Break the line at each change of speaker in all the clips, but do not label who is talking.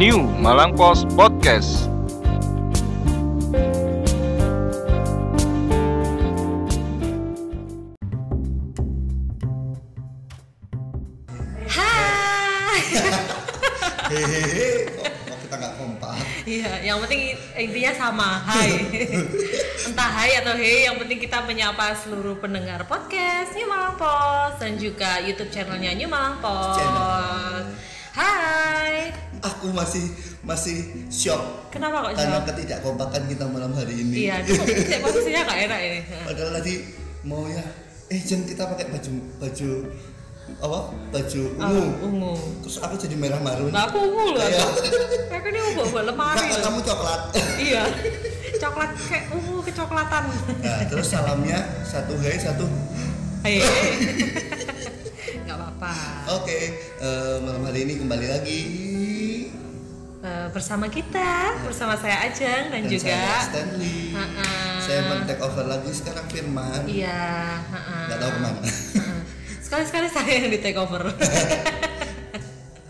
New Malang Post Podcast.
Hai.
hehehe kok, kok kita nggak kompak
Iya, yang penting intinya sama. Hai. Entah hai atau hei, yang penting kita menyapa seluruh pendengar podcast New Malang Post dan juga YouTube channelnya New Malang Post. Hai.
aku masih masih shock
Kenapa kok
karena
jawab?
ketidakkompakan kita malam hari ini
Iya, aduh, kok posisinya gak enak ini.
padahal tadi mau ya eh jeng kita pakai baju baju apa baju ungu
Oh, ungu.
terus aku jadi merah marun
Nah, aku ungu loh.
Iya.
aku. Aku ini ungu buat lemari.
Nggak,
loh.
kamu coklat
Iya. Coklat kayak ungu kecoklatan.
nah terus salamnya satu hai satu
Hai. Gak Eh. apa-apa.
oke eh, malam hari ini kembali lagi
Eh, bersama kita bersama saya Ajeng dan,
Iya. Dan
juga
saya Stanley
Ha-ha.
saya men take over lagi sekarang Firman
iya
nggak tahu kemana
sekali sekali saya yang di take over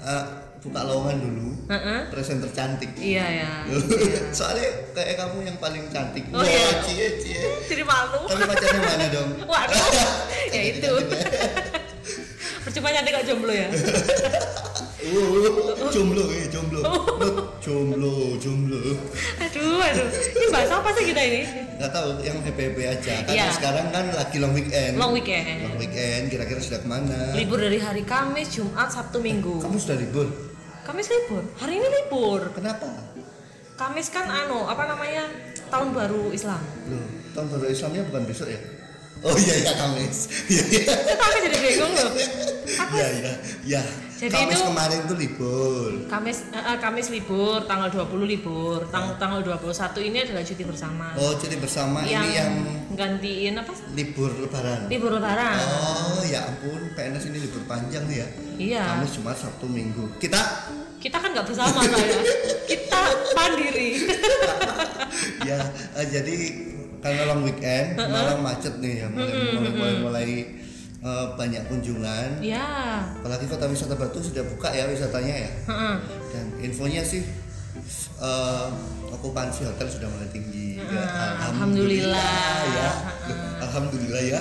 Eh, buka lowongan dulu
Heeh.
presenter cantik
iya ya
soalnya kayak kamu yang paling cantik
Oh, iya.
cie cie
jadi malu
tapi pacarnya mana dong
waduh ya
Cantik,
itu percuma nyantik kok jomblo ya
uh, jomblo eh jomblo Nut, jomblo jomblo
aduh aduh ini bahasa apa sih kita ini
nggak tahu yang happy aja karena
Iya.
sekarang kan lagi long weekend
long weekend
Long weekend kira-kira sudah kemana
libur dari hari Kamis Jumat Sabtu Minggu
kamu sudah libur
Kamis libur hari ini libur
kenapa
Kamis kan anu apa namanya tahun baru Islam
Loh, tahun baru Islamnya bukan besok ya oh iya iya Kamis iya iya
Kok aku jadi bingung loh aku
iya iya iya
Jadi
Kamis
itu-
kemarin tuh libur
Kamis eh, eh, Kamis libur, tanggal 20 libur. Tang tanggal 21 ini adalah cuti bersama.
oh jadi bersama
yang,
ini yang
gantiin apa?
libur lebaran
Libur lebaran.
Oh ya ampun, PNS ini libur panjang nih ya.
Iya.
Kamis cuma Sabtu Minggu. Kita
Kita kan nggak bersama saya. Kita mandiri.
ya eh, jadi karena long weekend, malam macet nih ya, mulai mulai mulai, mulai, eh, banyak kunjungan.
ya.
Apalagi kota wisata Batu sudah buka ya wisatanya ya.
Heeh.
Dan infonya sih eh, okupansi hotel sudah mulai tinggi. Ya,
Ah, Alhamdulillah.
ya. Alhamdulillah ya.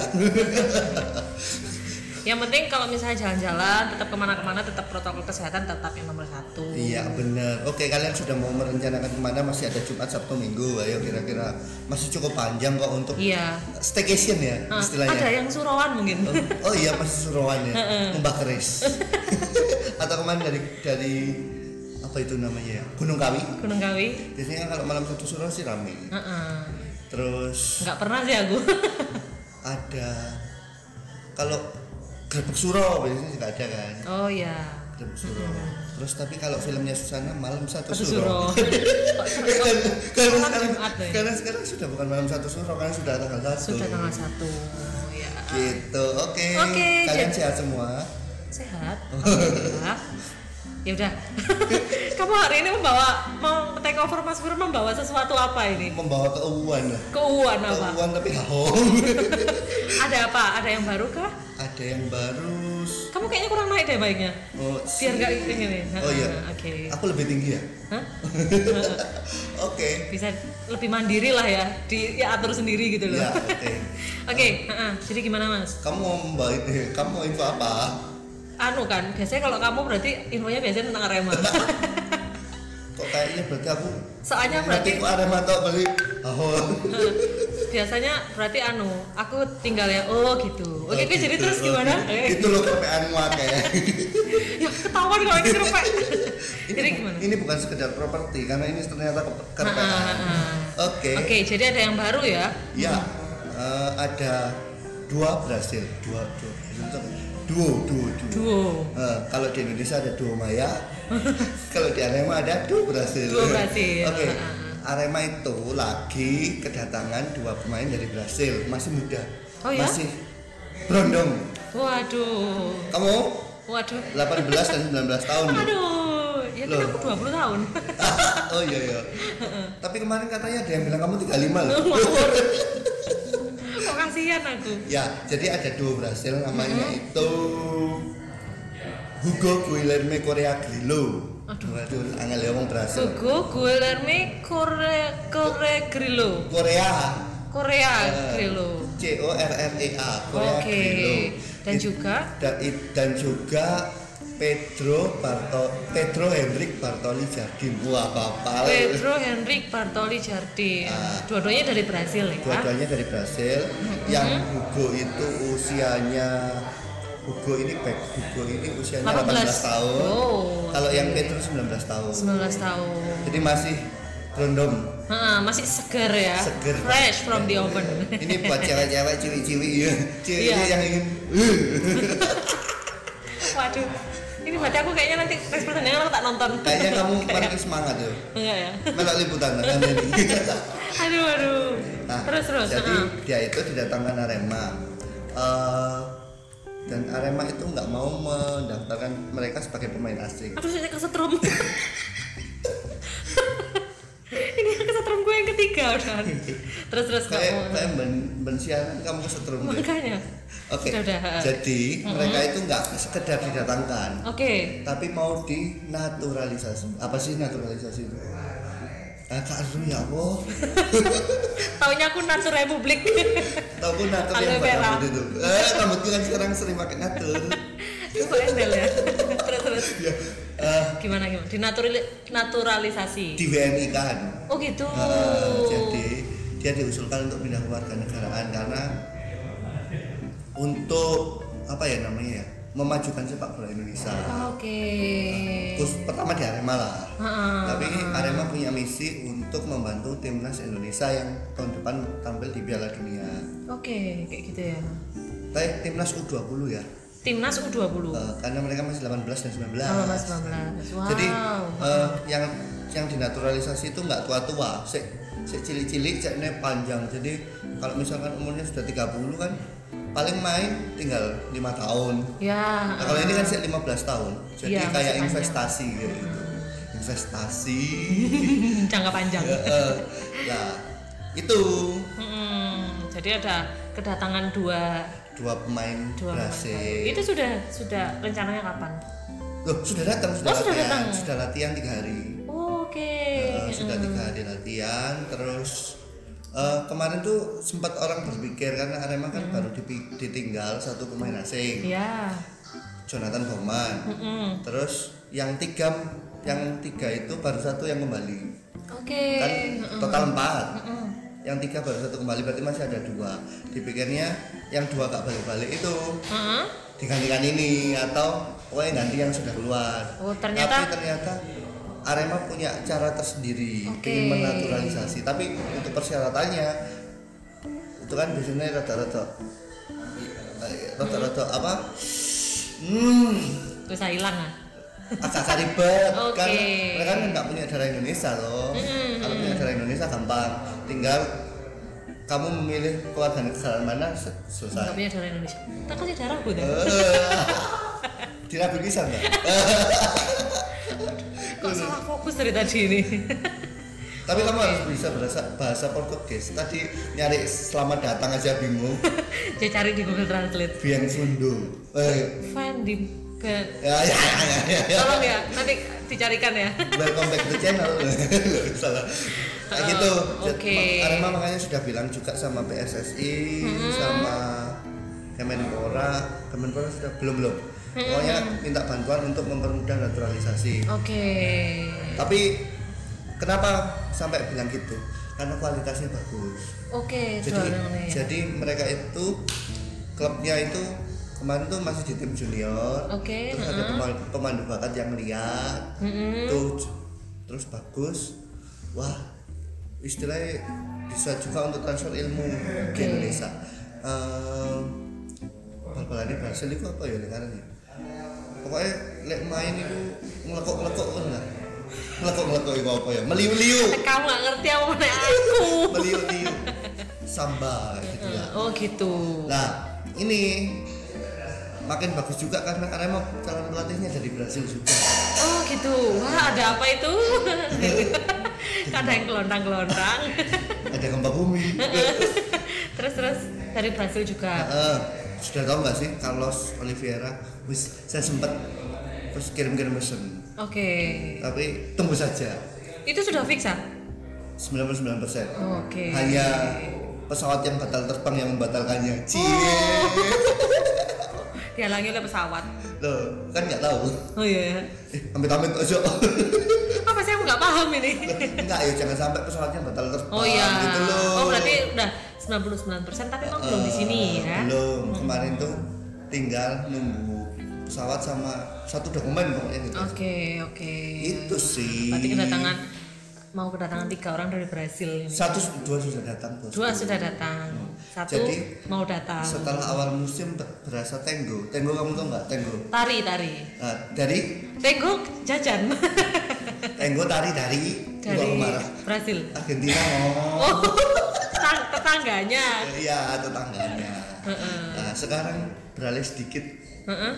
Yang penting kalau misalnya jalan-jalan, tetap kemana-kemana, tetap protokol kesehatan tetap yang nomor satu.
Iya benar. Oke kalian sudah mau merencanakan kemana? Masih ada Jumat, Sabtu, Minggu. Ayo kira-kira masih cukup panjang kok untuk
Iya.
staycation ya
Eh, ada
istilahnya.
yang surawan mungkin.
Oh, oh iya masih seruan ya. Mbak Keris. Atau kemarin dari dari apa itu namanya ya? Gunung Kawi.
Gunung Kawi.
Biasanya kalau malam satu Suro sih rame.
Heeh.
Terus
Nggak pernah sih aku.
ada kalau Gerbek Suro biasanya juga ada kan.
oh ya.
Gerbek Suro. Terus tapi kalau filmnya Susana malam satu,
Satu suro.
Suro. Eh, kan- karena
Malam
sekarang,
Jumat ya?
karena sekarang sudah bukan malam satu suro karena sudah tanggal satu
Sudah tanggal satu. Ya.
gitu oke
Oke,
kalian
jadi-
sehat semua
sehat alhamdulillah ya udah kamu hari ini membawa mau take over mas Bur membawa sesuatu apa ini
membawa keuuan lah
keuangan apa
keuuan tapi hahong
ada apa ada yang baru kah
ada yang baru
kamu kayaknya kurang naik deh baiknya
oh,
biar nggak ini nih
oh iya
Ah, oke
aku lebih tinggi ya
Hah?
oke
bisa lebih mandiri lah ya di ya atur sendiri gitu loh
ya
oke
oke
ah, ah. jadi gimana mas
kamu mau membawa ini kamu mau info apa
anu kan biasanya kalau kamu berarti infonya biasanya tentang Arema
kok kayaknya berarti aku
soalnya
nanti
berarti
aku ada mata Oh. beli hahong
Eh, biasanya berarti anu aku tinggal ya oh gitu oke
Oh,
oke, jadi
gitu,
terus
oke.
gimana eh,
itu loh kepean kayak
ya ketahuan kalau ini kerupuk jadi
bu-
gimana
Ini bukan sekedar properti karena ini ternyata
Ah,
ke-
ah,
kerepaan.
ah, ah.
Oke.
oke jadi ada yang baru ya
Ya, eh, ada dua berhasil, dua dua berhasil itu apa? duo duo duo.
duo
Eh, kalau di Indonesia ada duo Maya, kalau di Arema ada duo berhasil.
Duo Brasil.
Oke.
Ah,
Arema itu lagi kedatangan dua pemain dari Brasil, masih muda,
Oh, ya?
masih berondong.
waduh
Kamu
waduh
18 dan 19 tahun. loh.
aduh ya kan
Loh.
aku 20 tahun
oh iya iya. Tapi kemarin katanya ada yang bilang kamu 35 loh.
Ngawur. kok kasihan aku
Ya, jadi ada dua Brasil
Mm-hmm.
namanya itu Hugo Guilherme Korea Grillo
Aduh.
Waduh, angel ya ngomong berhasil.
Sugo Guilherme Kore Kore Grillo.
Korea.
Korea
Eh,
Grillo.
C O R R E A. Korea
Oke.
Grillo.
Dan
It-
juga?
dan, it- dan juga Pedro Barto Pedro Hendrik Bartoli Jardim. Wah, bapak.
Pedro Henrik Bartoli Jardim.
Ah.
Dua-duanya dari Brasil ya.
Dua-duanya dari Brasil.
Mm-hmm.
Yang Hugo itu usianya Hugo ini back Hugo ini usianya 18,
18
tahun.
Oh,
Kalau yang
oke.
Pedro 19 tahun.
19 tahun.
Jadi masih rondom.
Ha, masih segar ya.
seger
Fresh from
Iya,
the oven.
ini buat cewek-cewek ciwi-ciwi ya ciwi
Iya.
yang ingin
Waduh. Ini berarti aku kayaknya nanti pas pertandingan aku tak nonton.
kayaknya kamu makin semangat ya
Enggak ya.
melak liputan kan ini
Aduh aduh. terus terus.
Nah,
uh-uh.
jadi
ha.
dia itu didatangkan Arema Eh, dan Arema itu nggak mau mendaftarkan mereka sebagai pemain asing
Aduh saya kesetrum Ini kesetrum gue yang ketiga udah Terus terus nggak
kayak
mau.
kayak ben, ben siaran kamu kesetrum deh. oke
Makanya Sudah, uh-uh. udah.
jadi mereka itu nggak sekedar didatangkan
Oke
tapi mau dinaturalisasi apa sih naturalisasi itu Ah, Kak Azrul, ya Allah
Taunya aku natur republik
tau gue natur
Aloe
yang buat
vera.
rambut itu eh rambutku kan sekarang sering pakai natur
Itu kok endel ya Terus terus
ya eh,
Gimana gimana Dinaturalisasi
di WNI kan
Oh gitu
Eh, jadi dia diusulkan untuk pindah warga negaraan karena untuk apa ya namanya ya memajukan sepak bola Indonesia
Ah, Oke
terus pertama di Arema lah
Ha-ha.
tapi Arema punya misi untuk membantu timnas Indonesia yang tahun depan tampil di Piala Dunia
Oke kayak gitu ya
baik timnas U20 ya
Timnas U20
Eh, karena mereka masih 18 dan 19
Oh, Mas Bambang. Wow.
ya. Jadi eh, yang yang dinaturalisasi itu nggak tua-tua, sek sek cilik-cilik, ceknya panjang. Jadi kalau misalkan umurnya sudah 30 kan paling main tinggal lima tahun.
ya.
Nah, kalau ini kan sek 15 tahun. Jadi
Iya, masih
kayak
panjang. Hmm.
investasi kayak gitu. Investasi.
Jangka panjang.
Ya, eh, nah, itu
Mm-mm. Hmm, jadi ada kedatangan dua
dua pemain
dua pemain baru.
Brasil.
Itu sudah sudah rencananya kapan?
Loh, sudah datang, sudah,
Oh, sudah
latihan,
datang.
sudah latihan tiga hari.
Oh, Oke.
Eh, sudah tiga hari latihan terus eh, kemarin tuh sempat orang berpikir karena Arema kan
Hmm.
baru dipi- ditinggal satu pemain asing
Ya. Hmm,
Jonathan Bowman
Mm-mm.
terus yang tiga yang tiga itu baru satu yang kembali
Oke.
kan
iya. Hmm.
total empat
Mm-mm.
yang tiga baru satu kembali berarti masih ada dua dipikirnya yang dua gak balik-balik itu
Mm-mm.
digantikan ini atau pokoknya nanti yang sudah keluar
Oh, ternyata-
tapi ternyata Arema punya cara tersendiri
Oke.
ingin menaturalisasi tapi untuk persyaratannya itu kan biasanya rata-rata eh, rata-rata apa hmm
Terus saya hilang ah.
agak ribet
Oke.
kan mereka kan nggak punya darah Indonesia loh
Hmm.
kalau punya darah Indonesia gampang tinggal kamu memilih keluarga negara mana se-
Enggak
selesai
punya darah Indonesia. Tak kasih darah gue deh.
Eh, tidak bisa nggak
Kok salah fokus dari tadi ini?
Tapi kamu harus bisa bahasa, bahasa Portugis. Tadi nyari selamat datang aja bingung.
Saya cari di Google Translate.
Biang Sundo. Eh,
Finding ke
ya, ya, ya, ya, ya.
Tolong ya, nanti dicarikan ya.
Welcome back to channel. Salah. Kayak gitu.
Eh, oke.
Mak- Arema makanya sudah bilang juga sama PSSI, sama Kemenpora. Kemenpora sudah belum belum. Pokoknya minta bantuan untuk mempermudah naturalisasi.
Oke.
Tapi kenapa sampai bilang gitu? Karena kualitasnya bagus.
Oke,
jadi
jualannya ya.
jadi mereka itu klubnya itu kemarin tuh masih di tim junior
Oke, Hmm.
terus ada pemandu, pemandu bakat yang lihat
Mm-mm.
tuh j- terus bagus wah istilahnya bisa juga untuk transfer ilmu di Indonesia Ehm, bal-balannya Brasil itu apa ya sekarang ya pokoknya lek main itu ngelekok-ngelekok kan lah ngelekok-ngelekok itu apa ya meliu-liu
Kamu nggak ngerti apa mana aku.
meliu-liu samba gitu lah
Oh gitu.
Nah, ini makin bagus juga karena Arema calon pelatihnya dari Brasil juga.
Oh gitu. Wah ada apa itu?
Iya.
Kadang yang kelontang-kelontang.
Ada gempa bumi.
terus terus dari Brasil juga.
Eh, sudah tahu nggak sih Carlos Oliveira? Wis, saya sempat terus kirim-kirim pesan.
Oke.
tapi tunggu saja
Itu sudah fix ah?
99%
Oke.
hanya pesawat yang batal terbang yang membatalkannya cie
Oh. Dihalangi oleh pesawat.
loh kan nggak tahu
Oh iya. ya.
eh, amit-amit aja
Apa saya nggak paham ini?
enggak ya jangan sampai pesawatnya batal terbang
Oh iya.
gitu loh
Oh berarti udah 99% tapi emang belum di sini ya.
Eh, belum kemarin tuh tinggal nunggu pesawat sama satu dokumen pokoknya gitu
Oh, Oke, oke.
itu sih
Berarti kedatangan mau kedatangan tiga orang dari Brasil ini.
satu dua sudah datang bos
Dua sudah datang, satu
Jadi,
mau datang.
setelah awal musim ber- berasa tenggo tenggo kamu tau nggak tenggo
Tari, tari.
Nah, dari
Tengok jajan
tenggo tari dari Wah,
dari
aku marah
Brasil.
Argentina ngomong
Oh, tetang- tetangganya.
Iya tetangganya.
Heeh.
Nah sekarang beralih sedikit
Heeh.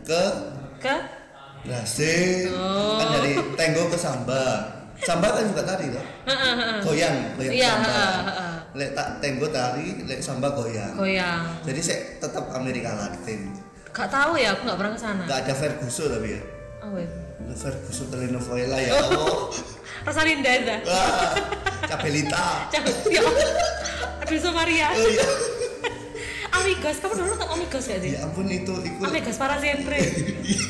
ke
Ke
Brasil.
Oh.
Kan dari Tenggo ke Samba. Samba kan juga tari loh.
Heeh, heeh.
Goyang, goyang
Iya,
Samba.
heeh, heeh.
Lek tak Tenggo tari, lek Samba goyang.
goyang.
Jadi saya tetap Amerika Latin.
Gak tahu ya, aku gak pernah ke sana.
Gak ada Ferguson tapi ya.
Oh, wait.
Lu Ferguson telenovela ya. Oh.
Rosalinda itu.
Wah, Capelita.
Ya. Aduh, Sumaria.
Oh iya.
Amigos, kamu dulu nonton Amigos gak sih?
Ya ampun itu itu
Amigos para siempre.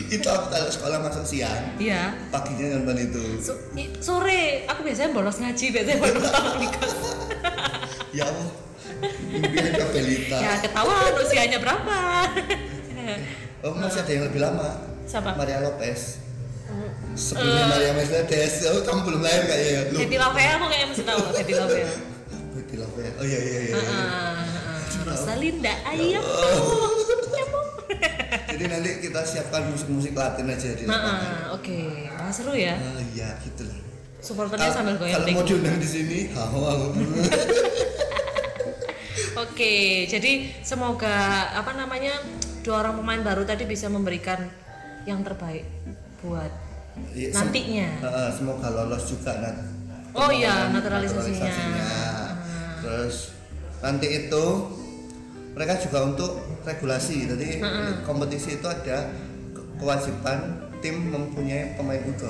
itu aku kalau sekolah masuk siang
Iya.
paginya nonton itu
So- i- sore, aku biasanya bolos ngaji, biasanya bolos nonton Amigos.
ya Allah mimpiin Capelita
Ya, ketahuan usianya berapa.
Oh masih ada yang lebih lama.
Siapa?
Maria Lopez. Sebelumnya Maria Mercedes. Oh kamu belum lahir kayaknya ya. Lu.
Eh. Jadi Lavea aku kayaknya masih tahu Jadi Lavea.
Betty Love ya. Oh iya iya iya.
Ah,
iya.
Rosalinda, ayo. Iya,
Iya. Jadi nanti kita siapkan musik-musik Latin aja di
Nah,
lapangan.
ah, oke. Wah, seru ya.
Oh iya gitulah.
Supporternya sambil goyang
kalau
ding.
mau diundang di sini, haho aku.
Oke, jadi semoga apa namanya dua orang pemain baru tadi bisa memberikan yang terbaik buat
Iya, sem-
nantinya.
Heeh, semoga lolos juga nanti.
Oh iya, naturalisasinya. Ah.
Terus nanti itu mereka juga untuk regulasi. Jadi kompetisi itu ada ke- kewajiban tim mempunyai pemain
Ah.
U20.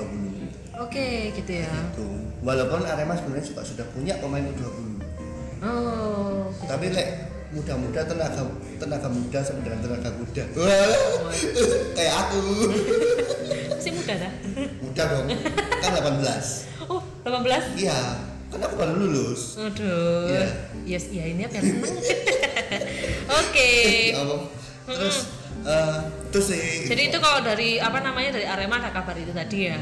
Oke, gitu ya.
Tuh. Walaupun Arema sebenarnya juga sudah punya pemain U20.
Oh,
Tapi lek muda-muda tenaga tenaga muda sama dengan tenaga kuda. Kayak aku.
masih muda dah.
Muda dong. Kan 18.
Oh, 18.
Iya. Kan aku baru lulus.
Aduh.
Iya.
Yes, iya ini apa yang seneng. Oke.
Ya Allah. Terus eh, terus sih.
Jadi itu kalau dari apa namanya dari Arema ada kabar itu tadi ya.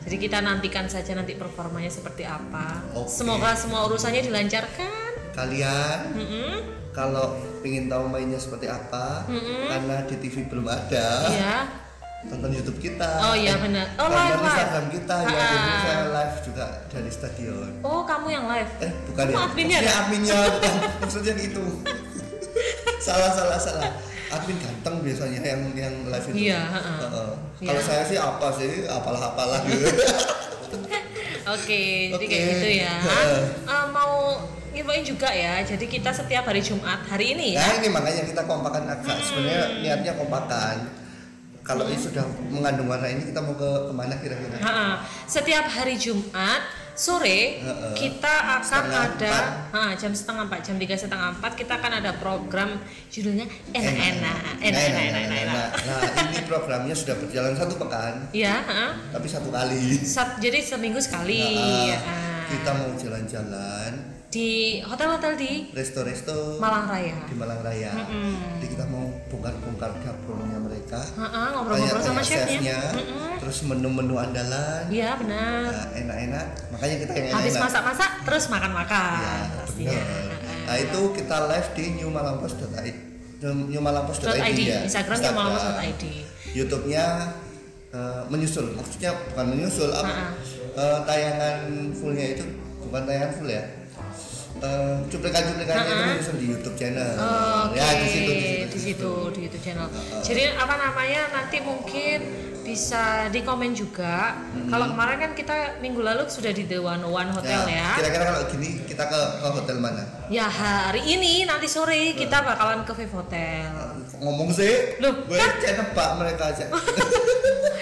Jadi kita nantikan saja nanti performanya seperti apa.
Oke.
Semoga semua urusannya dilancarkan.
kalian
Mm-mm.
kalau ingin tahu mainnya seperti apa karena di TV belum ada
Iya.
tonton YouTube kita Eh,
Oh, iya, benar. Oh,
tonton
live, live.
Instagram kita ya
Ah.
jadi saya live juga dari stadion
Oh, kamu yang live.
eh bukan
Kamu
ya
adminnya
Maksudnya
ada?
adminnya bukan maksudnya itu salah salah salah admin ganteng biasanya yang yang live itu
Iya, ha-ha.
Heeh. kalau
Iya.
saya sih apa sih gitu. apalah apalah
Oke, jadi
Oke.
kayak gitu ya.
Heeh.
Eh, mau ngibain juga ya. Jadi kita setiap hari Jumat hari ini ya.
Nah ini makanya kita kompakan agak
Hmm.
sebenarnya niatnya kompakan. Kalau ini sudah mengandung warna ini kita mau ke kemana kira-kira?
Ha-ha. Setiap hari Jumat sore
Heeh.
kita akan
Setengah
ada ha, jam setengah empat jam tiga setengah empat kita akan ada program judulnya enak-enak enak-enak enak-enak.
Nah ini programnya sudah berjalan satu pekan,
Ya, ha-ha.
tapi satu kali.
Sat- jadi seminggu sekali.
Nah,
ya.
kita mau jalan-jalan,
Di hotel-hotel di
resto-resto
Malang Raya.
di Malang Raya. Jadi kita mau bongkar-bongkar dapurnya mereka,
Ha-ha, ngobrol-ngobrol sama
tanya-tanya
chefnya. Mm-mm.
terus menu-menu andalan.
Iya benar.
Nah, enak-enak, makanya kita yang
Habis
enak-enak.
masak-masak terus
Ya,
makan-makan pastinya.
benar. Nah itu kita live di newmalampos.id newmalampos.id
Dot ID,
ya. Iya,
Instagramnya malah dot ID.
YouTube-nya eh, menyusul, maksudnya bukan menyusul apa? eh, tayangan fullnya itu bukan tayangan full ya. Eh, cuplikan-cuplikannya itu menyusul di YouTube channel.
Oke,
Ya di situ di situ.
di situ, di YouTube channel. Jadi apa namanya nanti mungkin bisa di komen juga.
Mm-hmm.
Kalau kemarin kan kita minggu lalu sudah di The One One Hotel
Nah,
ya.
Kira-kira kalau gini kita ke, ke hotel mana?
Ya hari ini nanti sore kita bakalan ke Vive Hotel.
Ngomong sih,
Loh,
gue
kan-
cek nebak mereka aja.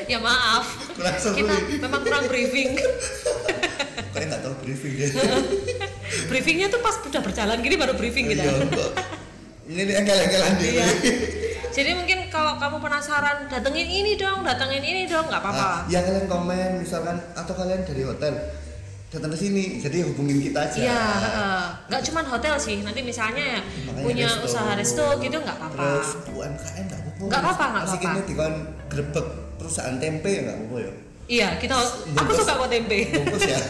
ya maaf
Kurang seru
kita
ini.
memang kurang briefing
Kayaknya nggak tahu briefing ya.
briefingnya tuh pas udah berjalan gini baru briefing kita
Iya, kok. Ini nih engkel-engkelan dia.
Iya. Jadi mungkin kalau kamu penasaran datengin ini dong, datengin ini dong, nggak apa-apa.
Ah, yang kalian komen misalkan atau kalian dari hotel datang ke sini jadi hubungin kita aja Nah,
Iya, heeh. nggak cuman hotel sih. Nanti misalnya ya
Makanya
punya
resto.
usaha resto gitu nggak apa-apa.
terus UMKM nggak apa-apa
Nggak apa-apa, nggak
Masih
apa-apa.
kini dikon grebek perusahaan tempe ya nggak apa-apa ya
Iya, kita aku
Bungkus.
suka kok tempe.
bungkus ya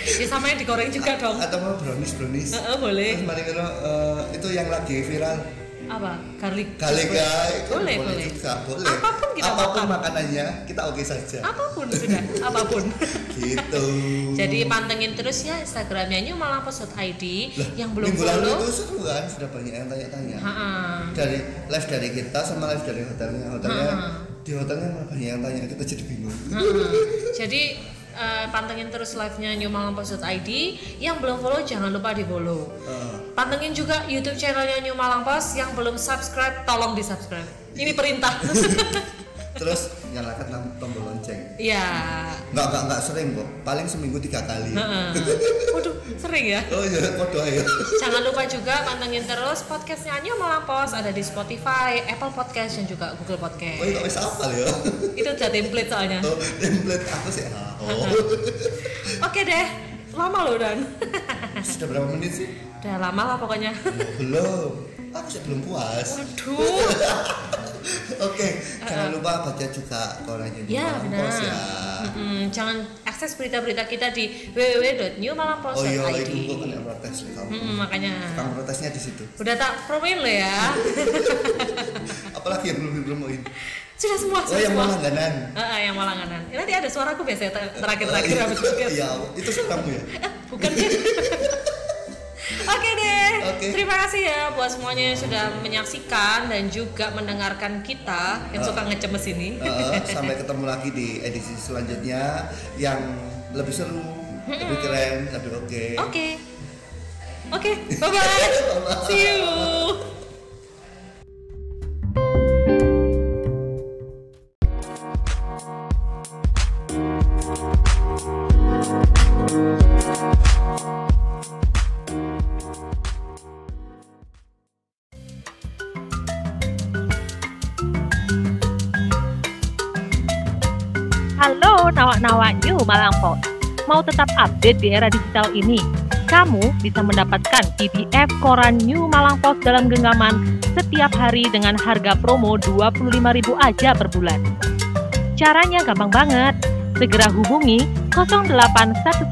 ya sama yang digoreng juga dong.
atau mau brownies brownies
Heeh, boleh.
terus mari kita itu yang lagi viral
Apa? Garlic.
kali guys
Boleh, boleh.
juga boleh
Apapun kita
apapun
makan.
makanannya kita oke saja
Apapun sudah, apapun.
gitu
Jadi pantengin terus ya Instagramnya New Malang Post ID
Lah,
yang belum
minggu lalu
follow.
itu seru kan sudah banyak yang tanya-tanya
Heeh.
dari live dari kita sama live dari hotelnya hotelnya
Hmm.
di hotelnya malah banyak yang tanya kita jadi bingung
Heeh. Jadi eh, pantengin terus live-nya New Malang Post ID yang belum follow jangan lupa di follow.
Eh,
Pantengin juga YouTube channelnya New Malang Post yang belum subscribe, tolong di subscribe. Ini perintah.
terus nyalakan lam- tombol lonceng
Iya.
nggak nggak nggak sering kok paling seminggu tiga kali
Heeh. Waduh, sering ya.
oh iya kodoh ya
Jangan lupa juga pantengin terus podcastnya New Malang Post ada di Spotify, Apple Podcast dan juga Google
oh
Podcast.
iya kok bisa hafal ya
Itu udah template soalnya.
oh, template aku sih ah, oh
Oke deh, lama loh dan.
sudah berapa menit sih
Udah lama lah pokoknya.
belum aku sih belum puas
Waduh.
oke jangan lupa baca juga korannya di
Ya
kolom
benar.
pos ya
Mm-mm, jangan akses berita-berita kita di www.newmalangpost.id.
oh iya itu kok kena protes di kamu
Mm, makanya.
Tukang protesnya di situ
Udah tak promoin lo ya.
apalagi yang belum dipromoin
Sudah semua,
oh
sudah
yang
semua.
mau langganan
Ah, ah, yang mau langganan. Eh, nanti ada suaraku biasanya ter- terakhir-terakhir habis podcast.
Oh, Iya, itu suaramu ya.
Eh, bukan sih. Oke deh.
Oke.
Terima kasih ya buat semuanya yang sudah menyaksikan dan juga mendengarkan kita yang
Ah.
suka ngecemes ini.
Heeh, sampai ketemu lagi di edisi selanjutnya yang lebih seru, lebih keren, lebih oke.
Oke. Oke, bye-bye. See you.
Halo nawak-nawak New Malang Post. Mau tetap update di era digital ini? Kamu bisa mendapatkan PDF koran New Malang Post dalam genggaman setiap hari dengan harga promo 25.000 aja per bulan. Caranya gampang banget. Segera hubungi 0813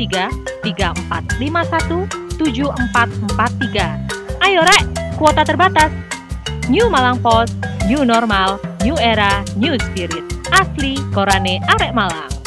3451 7443. Ayo rek, kuota terbatas. New Malang Post, new normal, new era, new spirit. Asli Korane Arek Malang.